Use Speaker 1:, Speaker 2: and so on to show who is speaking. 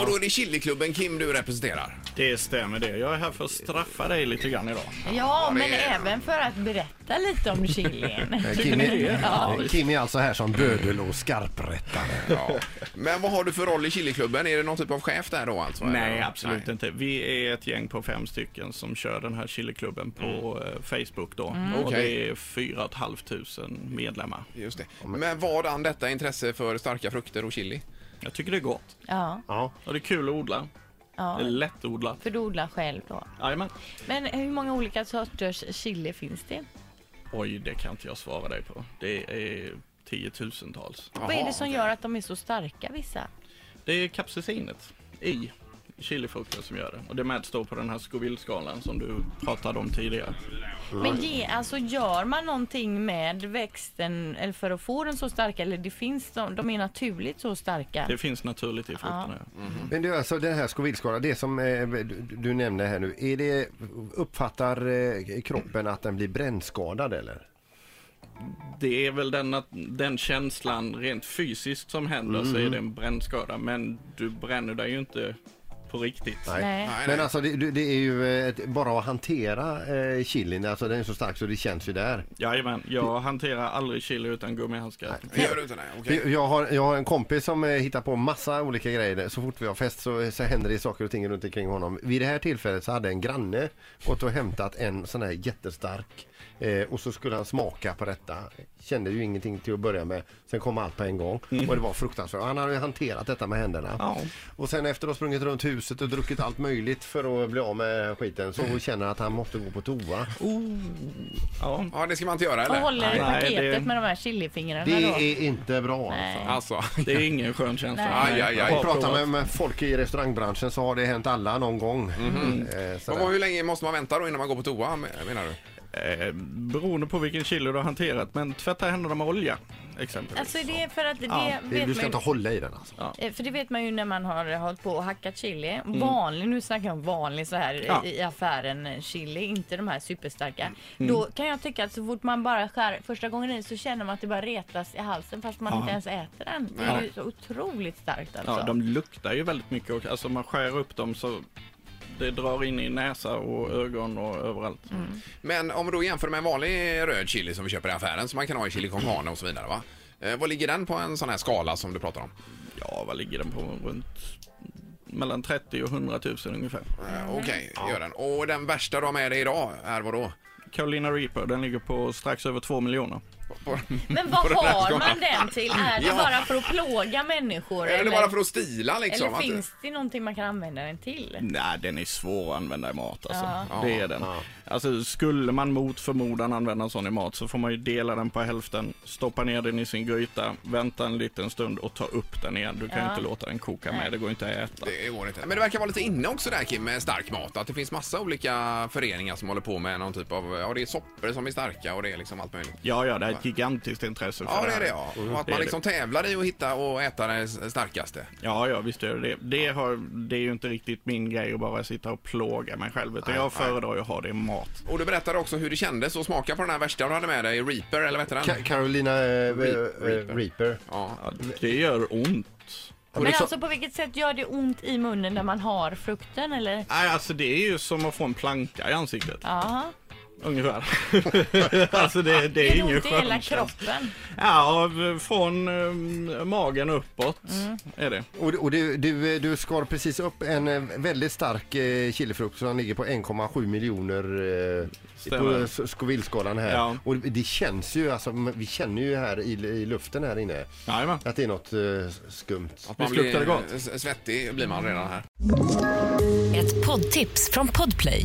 Speaker 1: Och då är det Chiliklubben Kim du representerar.
Speaker 2: Det stämmer det. Jag är här för att straffa dig lite grann idag.
Speaker 3: Ja,
Speaker 1: det
Speaker 3: men
Speaker 1: är-
Speaker 3: även för att berätta lite om chilin.
Speaker 4: Kim är,
Speaker 2: Ja.
Speaker 4: Kim är alltså här som bödel och skarprättare.
Speaker 1: Ja. Men vad har du för roll i Chiliklubben? Är det någon typ av chef där då alltså?
Speaker 2: Nej,
Speaker 1: Eller?
Speaker 2: absolut
Speaker 1: Nej.
Speaker 2: inte. Vi är ett gäng på fem stycken som kör den här chiliklubben på eh, Facebook då. Och
Speaker 1: Okej.
Speaker 2: det är 4 500 medlemmar.
Speaker 1: Just det. Men vadan detta intresse för starka frukter och chili?
Speaker 2: Jag tycker det är gott.
Speaker 3: Ja,
Speaker 4: Ja.
Speaker 2: Och det är kul att odla.
Speaker 3: ja.
Speaker 2: Det är lättodlat.
Speaker 3: För du odlar själv då.
Speaker 2: Jajamän.
Speaker 3: Men hur många olika sorters chili finns det?
Speaker 2: Oj, det kan inte jag svara dig på. Det är tiotusentals.
Speaker 3: Vad är
Speaker 1: Jaha.
Speaker 3: det som gör att de är så starka vissa?
Speaker 2: Det är capsaicinet i chilifrukten som gör det. Och det mäts då på den här Scoville-skalan som du pratade om tidigare.
Speaker 3: Men ge, alltså gör man någonting med växten eller för att få den så stark eller det finns de, de är naturligt så starka?
Speaker 2: Det finns naturligt i frukterna. ja.
Speaker 4: Men du, alltså den här Scoville-skalan, det som eh, du, du nämnde här nu, är det, uppfattar eh, kroppen att den blir brännskadad eller?
Speaker 2: Det är väl den, att, den känslan rent fysiskt som händer så
Speaker 1: Mm.
Speaker 2: är det en brännskada. Men du bränner dig ju inte på riktigt.
Speaker 3: Nej.
Speaker 1: Nej, nej.
Speaker 4: Men alltså det, det är ju eh, ett- bara att hantera eh, chilin, alltså den är så stark så det känns ju där.
Speaker 2: Jajamän, jag hanterar aldrig chili utan gummihandskar.
Speaker 1: Det gör du inte, Mm. nej. Okej.
Speaker 4: Jag- Jag har, jag har en kompis som eh, hittar på massa olika grejer. Så fort vi har fest så, så händer det saker och ting runt omkring honom. Vid det här tillfället så hade en granne gått och hämtat en sån här jättestark eh, och så skulle han smaka på detta. Kände ju ingenting till att börja med. Sen kom allt på en gång och det var fruktansvärt. Han hade ju hanterat detta med händerna.
Speaker 2: Ja.
Speaker 4: Och sen efter att ha sprungit runt huset och druckit allt möjligt för att bli av med skiten så känner han att han måste gå på toa.
Speaker 2: Ja.
Speaker 1: Ja, det ska man inte göra
Speaker 3: Och
Speaker 1: eller?
Speaker 3: håller i
Speaker 2: Nej,
Speaker 3: paketet
Speaker 2: det-
Speaker 3: med de här chilifingrarna
Speaker 4: Det
Speaker 3: då?
Speaker 4: är inte bra alltså.
Speaker 3: Nej.
Speaker 1: Alltså.
Speaker 2: Det är ingen skön känsla.
Speaker 1: Nej. Aj, aj, aj.
Speaker 2: Jag har
Speaker 4: Pratar
Speaker 2: provat.
Speaker 4: man med folk i restaurangbranschen så har det hänt alla någon gång. Eh, sådär.
Speaker 1: Vad- Hur länge måste man vänta då innan man går på toa menar du?
Speaker 2: Eh, beroende på vilken chili du har hanterat. Men tvätta händerna med olja exempelvis.
Speaker 3: Alltså det är för att det
Speaker 2: Ja,
Speaker 4: Det-
Speaker 3: vet
Speaker 4: Du ska
Speaker 3: man ju,
Speaker 4: inte hålla i den alltså.
Speaker 3: eh, för det vet man ju när man har hållit på och hackat chili.
Speaker 1: Mm.
Speaker 3: Vanlig, nu snackar jag om vanlig så här i-
Speaker 2: Ja.
Speaker 3: i affären eh, chili, inte de här superstarka.
Speaker 1: Mm.
Speaker 3: Då kan jag tycka att så fort man bara skär första gången i så känner man att det bara retas i halsen fast man
Speaker 2: Ja.
Speaker 3: inte ens äter den. Det är ju så otroligt starkt alltså.
Speaker 2: Ja, de luktar ju väldigt mycket och alltså man skär upp dem så det drar in i näsa och ögon och överallt.
Speaker 1: Men om vi då jämför med en vanlig röd chili som vi köper i affären som man kan ha i chili con carne och så vidare va? Eh, vad ligger den på en sån här skala som du pratar om?
Speaker 2: Ja, vad ligger den på? Runt mellan 30 och 100 000 ungefär.
Speaker 1: Eh, Okej, gör den. Och den värsta du har med dig idag är vad då?
Speaker 2: Carolina Reaper, den ligger på strax över 2 miljoner.
Speaker 1: På-
Speaker 3: Men
Speaker 1: på
Speaker 3: vad
Speaker 1: den här
Speaker 3: har
Speaker 1: skalan.
Speaker 3: man den till? Är det
Speaker 1: Ja.
Speaker 3: bara för att plåga människor?
Speaker 1: Eller bara för att stila liksom?
Speaker 3: eller
Speaker 1: att-
Speaker 3: finns det någonting man kan använda den
Speaker 1: Mm.
Speaker 3: till?
Speaker 2: Nej, den är svår att använda i mat alltså.
Speaker 3: Ja.
Speaker 2: Det är den. Alltså, skulle man mot förmodan använda en sån i mat så får man ju dela den på hälften, stoppa ner den i sin gryta, vänta en liten stund och ta upp den igen. Du kan ju inte låta den koka med, det går inte att äta.
Speaker 1: Det går inte. Men det verkar vara lite inne också där Kim med stark mat. Att det finns massa olika föreningar som håller på med någon typ av, ja det är soppor som är starka och det är liksom allt möjligt.
Speaker 2: Ja, ja, det är ett gigantiskt intresse för
Speaker 1: Ja det
Speaker 2: här. Mm.
Speaker 1: är det ja. Och att
Speaker 2: Det är
Speaker 1: man
Speaker 2: det.
Speaker 1: liksom tävlar i att hitta och äta det s- starkaste.
Speaker 2: Ja, ja, visst är det det. Det, har, det är ju inte riktigt min grej att bara sitta och plåga mig själv, utan jag föredrar ju att ha det i mat.
Speaker 1: Och du berättade också hur det kändes att smaka på den här värsta du hade med dig, Reaper eller vad hette den?
Speaker 4: Ka- Carolina eh, Reaper. Reaper.
Speaker 1: Ja.
Speaker 2: Ja, det gör ont.
Speaker 3: Men
Speaker 1: Liksom-
Speaker 3: alltså på vilket sätt gör det ont i munnen när man har frukten eller?
Speaker 2: Nej, alltså det är ju som att få en planka i ansiktet,
Speaker 3: Ja,
Speaker 2: ungefär. alltså det, det är
Speaker 3: det är
Speaker 2: ingen
Speaker 3: ont i hela
Speaker 2: skön känsla.
Speaker 3: kroppen.
Speaker 2: Ja, v- från eh, magen uppåt är det.
Speaker 4: Och, och du, du, eh, du skar precis upp en eh, väldigt stark eh, chilifrukt som ligger på 1,7 miljoner eh, på
Speaker 2: Stämmer.
Speaker 4: S- Scoville-skalan här.
Speaker 2: Ja.
Speaker 4: Och det känns ju, alltså, m- vi känner ju här i, i luften här inne
Speaker 2: Jajamän.
Speaker 4: att det är något eh, skumt.
Speaker 1: Att man
Speaker 2: Visst luktar det
Speaker 1: blir
Speaker 2: gott?
Speaker 1: s- svettig blir man redan här.
Speaker 5: Ett poddtips från Podplay.